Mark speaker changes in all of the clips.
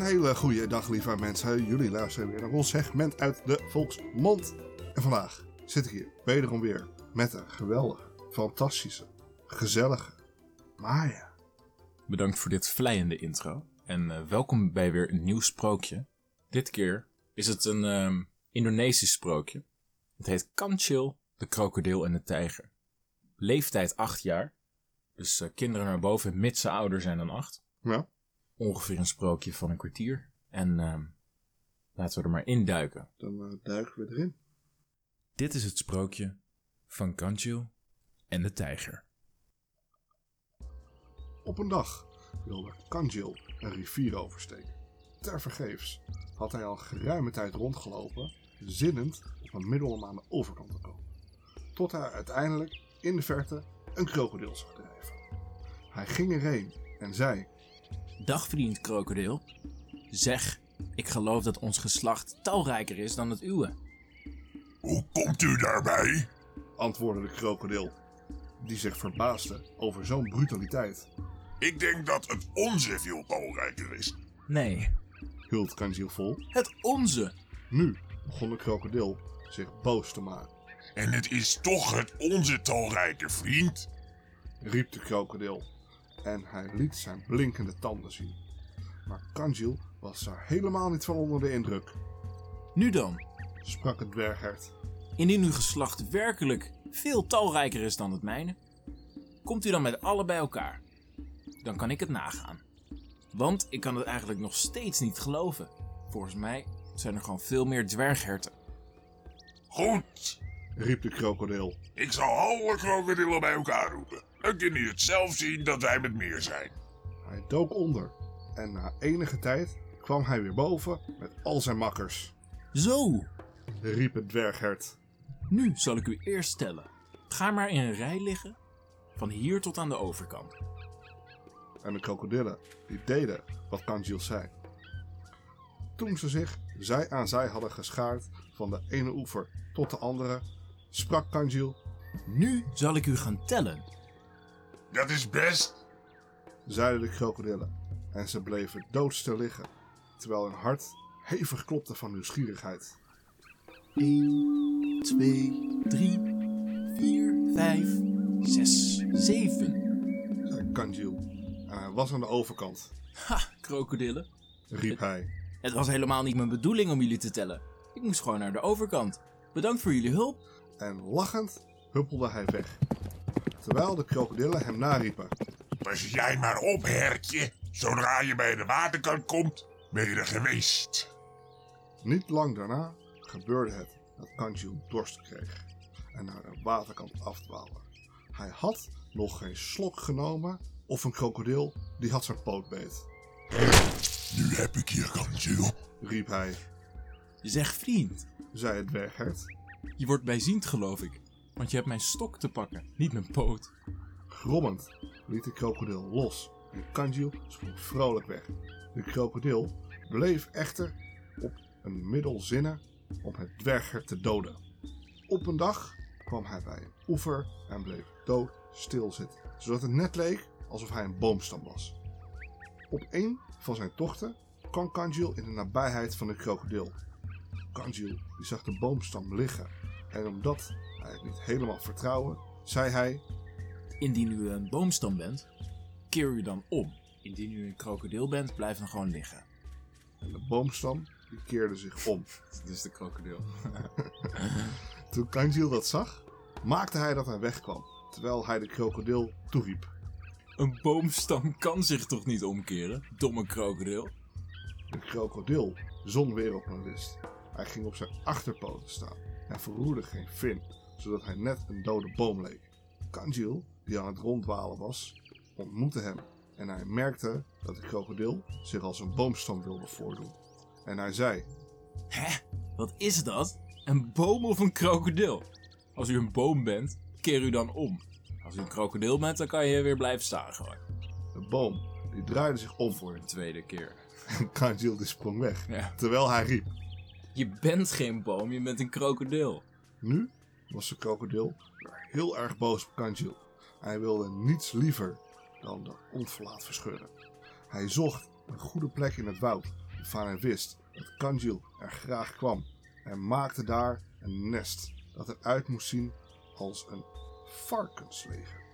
Speaker 1: hele goede dag, lieve mensen. Jullie luisteren weer naar ons segment uit de Volksmond. En vandaag zit ik hier wederom weer met een geweldige, fantastische, gezellige Maya.
Speaker 2: Bedankt voor dit vleiende intro. En eh, welkom bij weer een nieuw sprookje. Dit keer is het een ehm, Indonesisch sprookje. Het heet Kanchil, de krokodil en de tijger. Leeftijd 8 jaar. Dus eh, kinderen naar boven, mits ze ouder zijn dan 8.
Speaker 1: Ja,
Speaker 2: Ongeveer een sprookje van een kwartier. En ehm, laten we er maar induiken.
Speaker 1: dan eh, duiken we erin.
Speaker 2: Dit is het sprookje van Kanchil en de tijger.
Speaker 1: Op een dag wilde Kanjil een rivier oversteken. Tervergeefs had hij al geruime tijd rondgelopen, zinnend op een middel om aan de overkant te komen. Tot hij uiteindelijk in de verte een krokodil zag drijven. Hij ging erheen en zei:
Speaker 2: Dag vriend krokodil. Zeg, ik geloof dat ons geslacht talrijker is dan het uwe.
Speaker 3: Hoe komt u daarbij?
Speaker 1: antwoordde de krokodil, die zich verbaasde over zo'n brutaliteit.
Speaker 3: Ik denk dat het onze veel talrijker is.
Speaker 2: Nee,
Speaker 1: Hield Kanjil vol.
Speaker 2: het onze.
Speaker 1: Nu begon de krokodil zich boos te maken.
Speaker 3: En het is toch het onze talrijke vriend?
Speaker 1: riep de krokodil. En hij liet zijn blinkende tanden zien. Maar Kanjil was daar helemaal niet van onder de indruk,
Speaker 2: Nu dan,
Speaker 1: sprak het dwerghert.
Speaker 2: indien uw geslacht werkelijk veel talrijker is dan het mijne, komt u dan met alle bij elkaar. Dan kan ik het nagaan. Want ik kan het eigenlijk nog steeds niet geloven. Volgens mij zijn er gewoon veel meer dwergherten.
Speaker 3: Goed,
Speaker 1: riep de krokodil.
Speaker 3: ik zal alle krokodillen bij elkaar roepen. Dan kun je het zelf zien dat wij met meer zijn.
Speaker 1: Hij dook onder en na enige tijd kwam hij weer boven met al zijn makkers,
Speaker 2: Zo,
Speaker 1: riep het dwerghert.
Speaker 2: nu zal ik u eerst tellen. Ga maar in een rij liggen, van hier tot aan de overkant.
Speaker 1: en de krokodillen die deden wat Kanjil zei. Toen ze zich zij aan zij hadden geschaard van de ene oever tot de andere, sprak Kanjil,
Speaker 2: Nu zal ik u gaan tellen.
Speaker 3: Dat is best.
Speaker 1: zeiden de krokodillen, en ze bleven doodstil liggen, terwijl hun hart hevig klopte van nieuwsgierigheid.
Speaker 2: 1, 2, 3, 4, 5, 6, 7.
Speaker 1: Zei Kanjil, en hij was aan de overkant,
Speaker 2: Ha, krokodillen.
Speaker 1: riep hij.
Speaker 2: Het was helemaal niet mijn bedoeling om jullie te tellen. Ik moest gewoon naar de overkant. Bedankt voor jullie hulp.
Speaker 1: En lachend huppelde hij weg, terwijl de krokodillen hem nariepen.
Speaker 3: Pas jij maar op, hertje. Zodra je bij de waterkant komt, ben je er geweest.
Speaker 1: Niet lang daarna gebeurde het dat Kanjil dorst kreeg en naar de waterkant afdwaalde. Hij had nog geen slok genomen of een krokodil die had zijn poot beet,
Speaker 3: Nu heb ik je kansje.
Speaker 1: riep hij,
Speaker 2: Zeg vriend,
Speaker 1: zei het dwerghert.
Speaker 2: je wordt bijziend geloof ik. Want je hebt mijn stok te pakken, niet mijn poot.
Speaker 1: Grommend liet de krokodil los en Kanjil sprong vrolijk weg. De krokodil bleef echter op een middel zinnen om het dwerghert te doden. Op een dag kwam hij bij een oever en bleef dood stilzitten, zodat het net leek alsof hij een boomstam was. Op een van zijn tochten kwam Kanjil in de nabijheid van de krokodil. Kanjil die zag de boomstam liggen en omdat hij het niet helemaal vertrouwde, zei hij
Speaker 2: Indien u een boomstam bent, keer u dan om. Indien u een krokodil bent, blijf dan gewoon liggen.
Speaker 1: En de boomstam die keerde zich om.
Speaker 2: Dat is de krokodil.
Speaker 1: Toen Kanjil dat zag, maakte hij dat hij wegkwam, terwijl hij de krokodil toeriep.
Speaker 2: Een boomstam kan zich toch niet omkeren, domme krokodil?
Speaker 1: De krokodil zon weer op een list. Hij ging op zijn achterpoten staan en verroerde geen vin, zodat hij net een dode boom leek. Kanjil, die aan het rondwalen was, ontmoette hem en hij merkte dat de krokodil zich als een boomstam wilde voordoen. En hij zei,
Speaker 2: Hè? Wat is dat? Een boom of een krokodil? Als u een boom bent, keer u dan om. Als u een krokodil bent, dan kan je weer blijven staan gewoon.
Speaker 1: de boom, die draaide zich om voor hem.
Speaker 2: Een tweede keer.
Speaker 1: En Kanjil die sprong weg,
Speaker 2: Ja.
Speaker 1: terwijl hij riep.
Speaker 2: Je bent geen boom, je bent een krokodil.
Speaker 1: Nu was de krokodil weer heel erg boos op Kanjil. Hij wilde niets liever dan de onverlaat verscheuren. Hij zocht een goede plek in het woud De Vanen wist dat Kanjil er graag kwam en maakte daar een nest dat eruit moest zien als een varkensleger.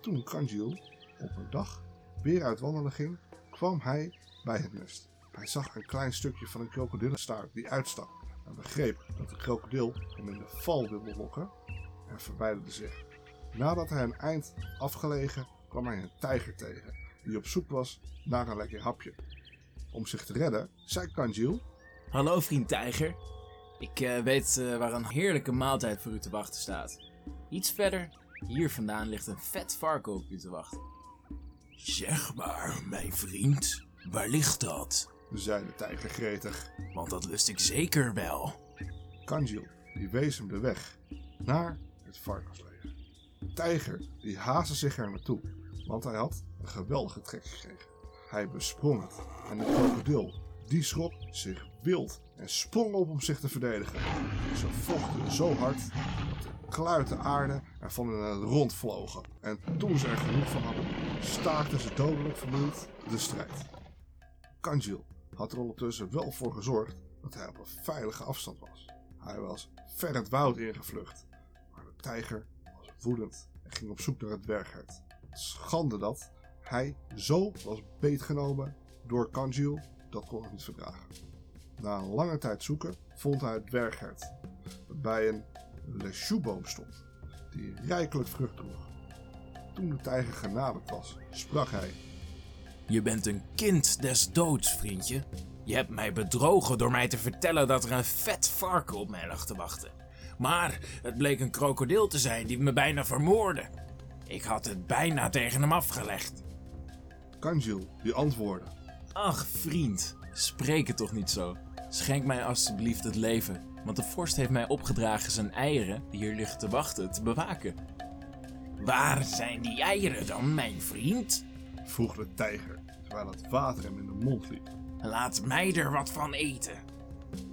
Speaker 1: Toen Kanjil op een dag weer uit wandelen ging, kwam hij bij het nest. Hij zag een klein stukje van een krokodillenstaart die uitstak en begreep dat de krokodil hem in de val wilde lokken en verwijderde zich. Nadat hij een eind afgelegen kwam hij een tijger tegen die op zoek was naar een lekker hapje. Om zich te redden, zei Kanjil
Speaker 4: Hallo vriend Tijger. Ik eh, weet eh, waar een heerlijke maaltijd voor u te wachten staat. Iets verder, hier vandaan ligt een vet varken op u te wachten.
Speaker 2: Zeg maar, mijn vriend, waar ligt dat?
Speaker 1: zei de tijger gretig.
Speaker 2: Want dat lust ik zeker wel.
Speaker 1: Kanjil die wees hem de weg naar het varkensleger. De tijger die haastte zich er naartoe, want hij had een geweldige trek gekregen. Hij besprong het en de krokodil die schrok zich wild en sprong op om zich te verdedigen. Ze vochten zo hard dat de kluiten aarde ervan in het rond vlogen. En toen ze er genoeg van hadden, staakten ze dodelijk vermoeid de strijd. Kanjil had er ondertussen wel voor gezorgd dat hij op een veilige afstand was. Hij was ver het woud ingevlucht, maar de tijger was woedend en ging op zoek naar het dwerghert. Schande dat hij zo was beetgenomen door Kanjil, dat kon hij niet verdragen. Na een lange tijd zoeken vond hij het dwerghert, dat bij een leshoeboom stond, die rijkelijk vrucht droeg. Toen de tijger genaderd was, sprak hij
Speaker 2: Je bent een kind des doods, vriendje. Je hebt mij bedrogen door mij te vertellen dat er een vet varken op mij lag te wachten. Maar het bleek een krokodil te zijn die me bijna vermoordde. Ik had het bijna tegen hem afgelegd.
Speaker 1: Kanjil, die antwoordde.
Speaker 2: Ach, vriend, spreek het toch niet zo. Schenk mij alstublieft het leven, want de vorst heeft mij opgedragen zijn eieren, die hier liggen te wachten, te bewaken. Waar zijn die eieren dan, mijn vriend?
Speaker 1: vroeg de tijger, terwijl het water hem in de mond liep,
Speaker 2: Laat mij er wat van eten.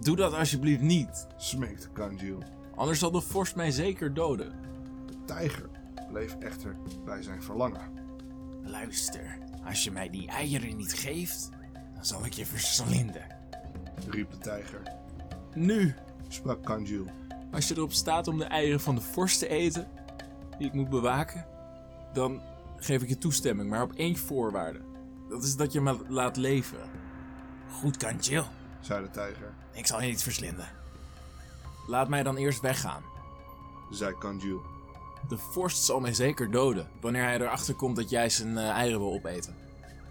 Speaker 2: Doe dat alsjeblieft niet,
Speaker 1: smeekte Kanjil.
Speaker 2: anders zal de vorst mij zeker doden.
Speaker 1: De tijger bleef echter bij zijn verlangen.
Speaker 2: Luister, als je mij die eieren niet geeft, dan zal ik je verslinden.
Speaker 1: Riep de tijger,
Speaker 2: Nu,
Speaker 1: sprak Kanjil.
Speaker 2: als je erop staat om de eieren van de vorst te eten, die ik moet bewaken, dan geef ik je toestemming, maar op één voorwaarde. Dat is dat je me laat leven. Goed kan, chill.
Speaker 1: zei de tijger,
Speaker 2: Ik zal je niet verslinden. Laat mij dan eerst weggaan.
Speaker 1: zei Kanjil.
Speaker 2: De vorst zal mij zeker doden wanneer hij erachter komt dat jij zijn eh, eieren wil opeten.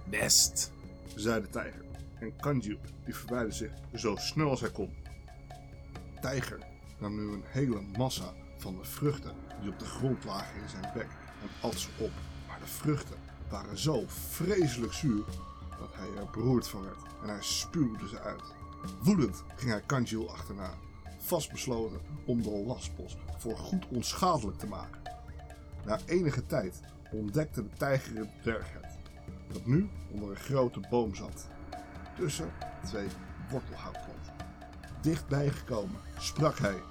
Speaker 2: Best.
Speaker 1: zei de tijger. En Kanjil die verwijderde zich zo snel als hij kon. De tijger nam nu een hele massa van de vruchten die op de grond lagen in zijn bek en at ze op. Maar de vruchten waren zo vreselijk zuur dat hij er beroerd van werd en hij spuwde ze uit. Woedend ging hij Kanjil achterna, vastbesloten om de lastpost voor goed onschadelijk te maken. Na enige tijd ontdekte de tijger het dwergheid dat nu onder een grote boom zat, tussen twee wortelhoutplanten. Dichtbij gekomen sprak hij,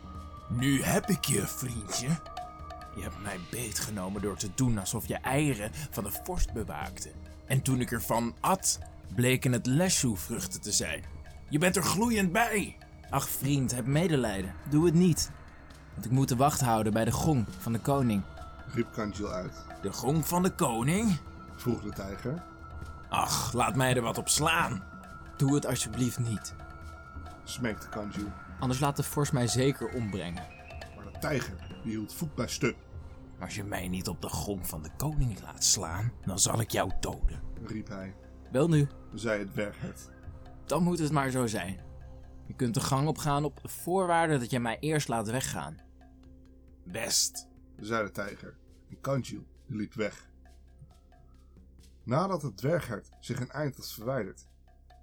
Speaker 2: Nu heb ik je, vriendje. Je hebt mij beetgenomen door te doen alsof je eieren van de vorst bewaakte. En toen ik ervan at, bleken het leshoe-vruchten te zijn. Je bent er gloeiend bij!
Speaker 4: Ach vriend, heb medelijden. Doe het niet. Want ik moet de wacht houden bij de gong van de koning.
Speaker 1: riep Kanjil uit,
Speaker 2: De gong van de koning?
Speaker 1: vroeg de tijger,
Speaker 2: Ach, laat mij er wat op slaan.
Speaker 4: Doe het alsjeblieft niet.
Speaker 1: smeekte Kanjil,
Speaker 4: Anders laat de vorst mij zeker ombrengen.
Speaker 1: maar de tijger die hield voet bij stuk,
Speaker 2: Als je mij niet op de gong van de koning laat slaan, dan zal ik jou doden.
Speaker 1: riep hij,
Speaker 4: Wel nu,
Speaker 1: zei het dwerghert,
Speaker 4: dan moet het maar zo zijn. Je kunt de gang opgaan op voorwaarde dat je mij eerst laat weggaan.
Speaker 2: Best.
Speaker 1: zei de tijger, en Kanjil liep weg. Nadat het dwerghert zich een eind had verwijderd,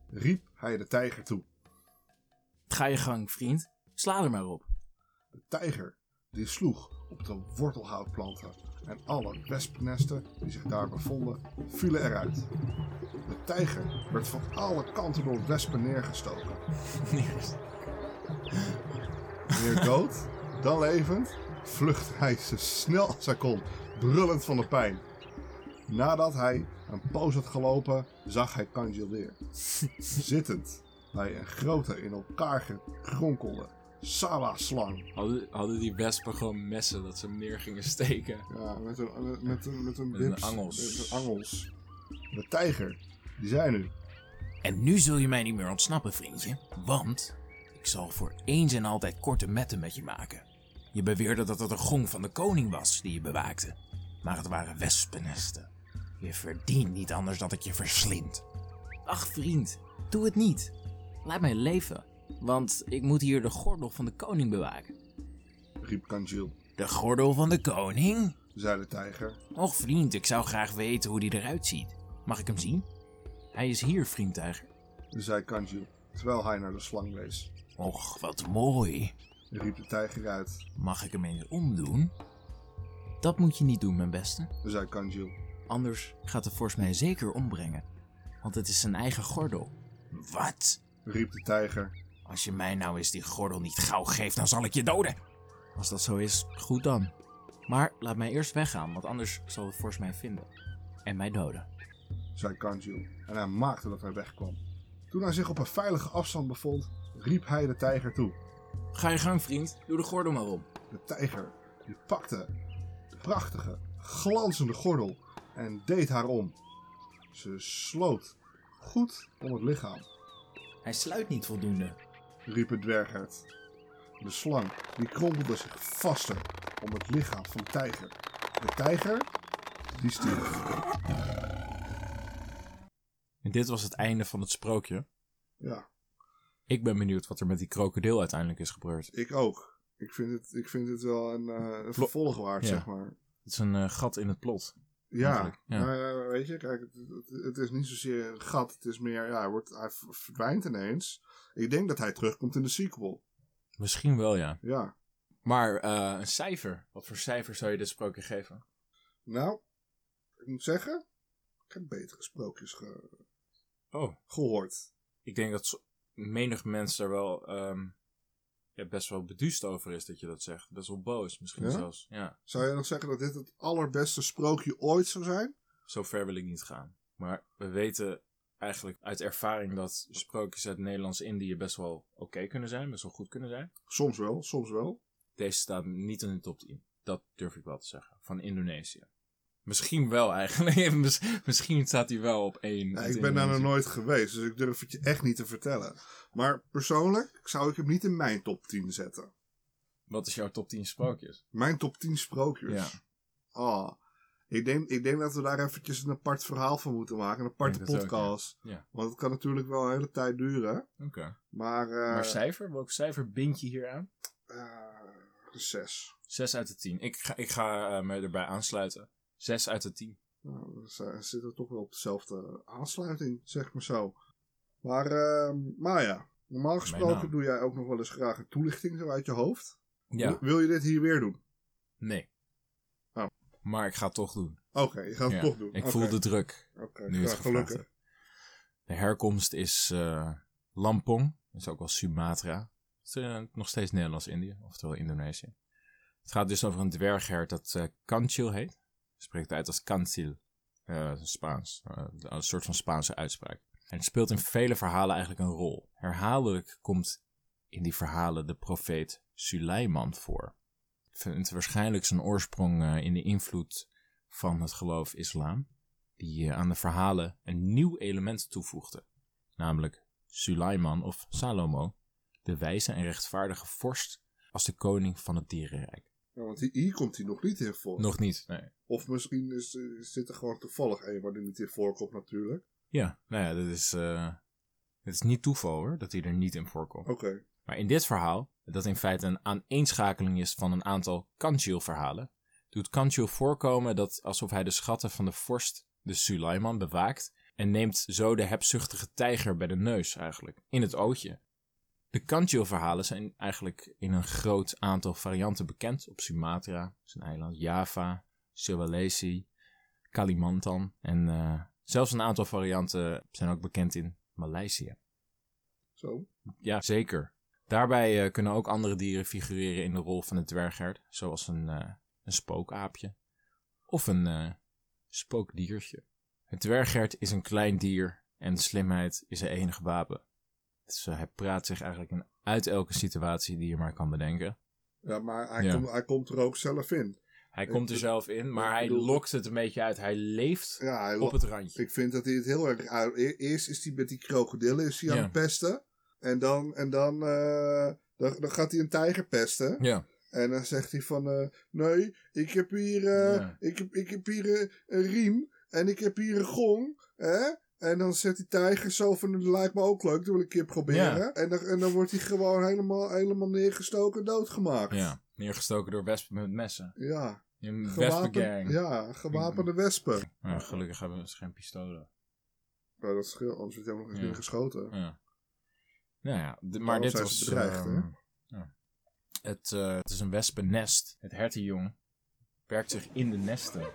Speaker 1: riep hij de tijger toe.
Speaker 4: Ga je gang, vriend. Sla er maar op.
Speaker 1: De tijger die sloeg op de wortelhoutplanten en alle wespnesten die zich daar bevonden vielen eruit. De tijger werd van alle kanten door wespen neergestoken. Meer dood dan levend vluchtte hij zo snel als hij kon, brullend van de pijn. Nadat hij een poos had gelopen, zag hij Kanjil weer. Zittend bij een grote in elkaar gekronkelde Sala-slang.
Speaker 2: Hadden, hadden die wespen gewoon messen dat ze hem neer gingen steken?
Speaker 1: Ja, met een, met, met een, met een,
Speaker 2: Met een
Speaker 1: bips-
Speaker 2: angels.
Speaker 1: Met een angels. De tijger, die zijn nu.
Speaker 4: En nu zul je mij niet meer ontsnappen, vriendje. Want ik zal voor eens en altijd korte metten met je maken. Je beweerde dat het een gong van de koning was die je bewaakte. Maar het waren wespennesten. Je verdient niet anders dat ik je verslind. Ach, vriend, doe het niet. Laat mij leven. Want ik moet hier de gordel van de koning bewaken.
Speaker 1: riep Kanjil.
Speaker 4: De gordel van de koning?
Speaker 1: zei de tijger.
Speaker 4: Och, vriend, ik zou graag weten hoe die eruit ziet. Mag ik hem zien? Hij is hier, vriend tijger.
Speaker 1: zei Kanjil, terwijl hij naar de slang wees.
Speaker 4: Och, wat mooi.
Speaker 1: riep de tijger uit.
Speaker 4: Mag ik hem eens omdoen? Dat moet je niet doen, mijn beste.
Speaker 1: zei Kanjil.
Speaker 4: Anders gaat de vorst mij zeker ombrengen. Want het is zijn eigen gordel. Wat?
Speaker 1: riep de tijger.
Speaker 4: Als je mij nou eens die gordel niet gauw geeft, dan zal ik je doden. Als dat zo is, goed dan. Maar laat mij eerst weggaan, want anders zal de vorst mij vinden. En mij doden.
Speaker 1: zei Kanjil. En hij maakte dat hij wegkwam. Toen hij zich op een veilige afstand bevond, riep hij de tijger toe.
Speaker 4: Ga je gang, vriend. Doe de gordel maar om.
Speaker 1: De tijger die pakte de prachtige, glanzende gordel en deed haar om. Ze sloot goed om het lichaam,
Speaker 4: Hij sluit niet voldoende.
Speaker 1: riep het dwerghert. De slang die kronkelde zich vaster om het lichaam van de tijger. De tijger die stierf.
Speaker 2: En dit was het einde van het sprookje.
Speaker 1: Ja,
Speaker 2: Ik ben benieuwd wat er met die krokodil uiteindelijk is gebeurd.
Speaker 1: Ik ook. Ik vind het, ik vind het wel een, eh, een vervolg waard,
Speaker 2: Ja.
Speaker 1: zeg maar.
Speaker 2: Het is een eh, gat in het plot.
Speaker 1: Ja,
Speaker 2: Eigenlijk, ja.
Speaker 1: maar, eh, weet je, kijk, het, het- het is niet zozeer een gat. Het is meer, ja, hij, wordt, hij v- verdwijnt ineens. Ik denk dat hij terugkomt in de sequel.
Speaker 2: Misschien wel, ja.
Speaker 1: Ja.
Speaker 2: Maar eh, een cijfer. Wat voor cijfer zou je dit sprookje geven?
Speaker 1: Nou, ik moet zeggen, ik heb betere sprookjes ge-
Speaker 2: Oh,
Speaker 1: gehoord.
Speaker 2: ik denk dat zo- menig mens daar wel ehm, ja, best wel beduust over is dat je dat zegt. Best wel boos, misschien
Speaker 1: Ja?
Speaker 2: zelfs. Ja,
Speaker 1: Zou je nog zeggen dat dit het allerbeste sprookje ooit zou zijn?
Speaker 2: zo ver wil ik niet gaan. Maar we weten eigenlijk uit ervaring dat sprookjes uit Nederlands-Indië best wel oké kunnen zijn, best wel goed kunnen zijn.
Speaker 1: Soms wel, soms wel.
Speaker 2: Deze staat niet in de top 10. Dat durf ik wel te zeggen. Van Indonesië. Misschien wel eigenlijk. Miss- Misschien staat hij wel op één.
Speaker 1: Nee,
Speaker 2: uit
Speaker 1: ik ben daar nog
Speaker 2: Indonesië.
Speaker 1: nooit geweest, dus ik durf het je echt niet te vertellen. Maar persoonlijk zou ik hem niet in mijn top 10 zetten.
Speaker 2: Wat is jouw top 10 sprookjes?
Speaker 1: Mijn top 10 sprookjes.
Speaker 2: Ja.
Speaker 1: Ah, ik, denk, ik denk dat we daar eventjes een apart verhaal van moeten maken. Een aparte
Speaker 2: Ik denk dat ook,
Speaker 1: podcast.
Speaker 2: ja. Ja.
Speaker 1: Want het kan natuurlijk wel een hele tijd duren.
Speaker 2: Oké.
Speaker 1: Maar, eh
Speaker 2: maar cijfer? Welk cijfer bind je hier aan?
Speaker 1: eh, een zes.
Speaker 2: 6 uit de 10. Ik ga, ik ga eh, me erbij aansluiten. 6 uit de 10.
Speaker 1: Nou, we zi- zitten toch wel op dezelfde aansluiting, zeg maar zo. Maar, eh, maar ja, normaal gesproken
Speaker 2: naam.
Speaker 1: doe jij ook nog wel eens graag een toelichting zo uit je hoofd.
Speaker 2: Ja.
Speaker 1: Wil- Wil je dit hier weer doen?
Speaker 2: Nee.
Speaker 1: Oh.
Speaker 2: Maar ik ga het toch doen.
Speaker 1: Oké, je gaat het
Speaker 2: Ja.
Speaker 1: toch doen.
Speaker 2: Ik voel
Speaker 1: Oké,
Speaker 2: de druk.
Speaker 1: oké,
Speaker 2: nu het
Speaker 1: ja,
Speaker 2: gevraagd
Speaker 1: gelukkig.
Speaker 2: hebt. De herkomst is eh, Lampong, dat is ook wel Sumatra. Dat is eh, nog steeds Nederlands-Indië, oftewel Indonesië. Het gaat dus over een dwerghert dat eh Kanchil heet. Spreekt uit als Kantil, eh, Spaans. eh, een soort van Spaanse uitspraak. En het speelt in vele verhalen eigenlijk een rol. Herhaaldelijk komt in die verhalen de profeet Suleiman voor. Vindt waarschijnlijk zijn oorsprong eh, in de invloed van het geloof islam die eh, aan de verhalen een nieuw element toevoegde, namelijk Suleiman of Salomo, de wijze en rechtvaardige vorst als de koning van het dierenrijk.
Speaker 1: Ja, want hier- hier komt hij nog niet in voor.
Speaker 2: Nog niet, nee.
Speaker 1: Of misschien is, is dit er gewoon toevallig een waar die niet in voorkomt natuurlijk.
Speaker 2: Ja, nou ja, dat is, eh, het is niet toeval hoor, dat hij er niet in voorkomt.
Speaker 1: Oké,
Speaker 2: Maar in dit verhaal, dat in feite een aaneenschakeling is van een aantal Kanchil-verhalen, doet Kanchil voorkomen dat alsof hij de schatten van de vorst, de Suleiman, bewaakt en neemt zo de hebzuchtige tijger bij de neus eigenlijk, in het ootje. De Kanchil-verhalen zijn eigenlijk in een groot aantal varianten bekend op Sumatra, zijn eiland, Java, Sulawesi, Kalimantan en eh, zelfs een aantal varianten zijn ook bekend in Maleisië.
Speaker 1: zo.
Speaker 2: Ja, zeker. Daarbij eh, kunnen ook andere dieren figureren in de rol van het dwerghert, zoals een, eh, een spookaapje of een eh, spookdiertje. Het dwerghert is een klein dier en de slimheid is zijn enige wapen. Dus eh, hij praat zich eigenlijk in uit elke situatie die je maar kan bedenken.
Speaker 1: Ja, maar hij,
Speaker 2: Ja.
Speaker 1: Komt, hij komt er ook zelf in.
Speaker 2: Hij komt er
Speaker 1: ik-
Speaker 2: zelf in, maar
Speaker 1: ik
Speaker 2: hij
Speaker 1: bedoel-
Speaker 2: lokt het een beetje uit. Hij leeft
Speaker 1: Ja, hij
Speaker 2: op het randje.
Speaker 1: Ik vind dat hij het heel erg... uit- e- Eerst is hij met die krokodillen is hij aan
Speaker 2: Ja.
Speaker 1: het pesten. En dan, en dan, eh, dan, dan gaat hij een tijger pesten.
Speaker 2: Ja,
Speaker 1: En dan zegt hij van... eh, nee, ik heb hier, eh,
Speaker 2: Ja.
Speaker 1: ik heb, ik heb hier eh, een riem. En ik heb hier een gong. Hè? En dan zet die tijger zo van... Dat lijkt me ook leuk, dat wil ik een keer proberen.
Speaker 2: Ja.
Speaker 1: En, dan, en dan wordt hij gewoon helemaal, helemaal neergestoken en doodgemaakt.
Speaker 2: ja. Neergestoken door wespen met messen.
Speaker 1: Ja,
Speaker 2: Een
Speaker 1: gewapen,
Speaker 2: wespengang.
Speaker 1: ja, gewapende wespen.
Speaker 2: Ja, gelukkig hebben ze geen pistolen.
Speaker 1: Nou, dat scheelt, anders werd hij nog eens
Speaker 2: Ja.
Speaker 1: neergeschoten.
Speaker 2: Ja. Nou ja, d- maar dit
Speaker 1: zijn
Speaker 2: was...
Speaker 1: ze bedreigd,
Speaker 2: ehm,
Speaker 1: hè?
Speaker 2: ja. het, eh, het is een wespennest. Het hertenjong werkt zich in de nesten.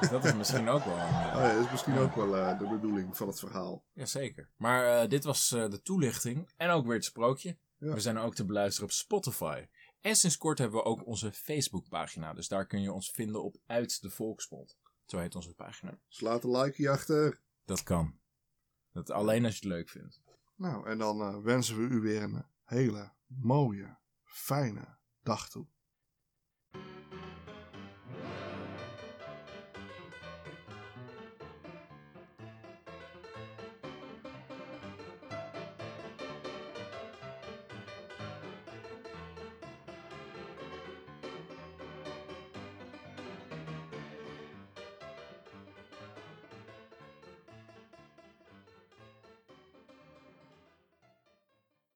Speaker 2: Dus dat is misschien ook wel... een, eh,
Speaker 1: Oh ja, dat is misschien ook wel eh, de bedoeling van het verhaal.
Speaker 2: Jazeker. Maar eh, dit was eh, de toelichting en ook weer het sprookje.
Speaker 1: Ja.
Speaker 2: We zijn ook te beluisteren op Spotify. En sinds kort hebben we ook onze Facebookpagina. Dus daar kun je ons vinden op Uit de Volksmond. Zo heet onze pagina.
Speaker 1: Dus laat een likeje achter.
Speaker 2: Dat kan. Dat alleen als je het leuk vindt.
Speaker 1: Nou, en dan eh, wensen we u weer een hele mooie, fijne dag toe.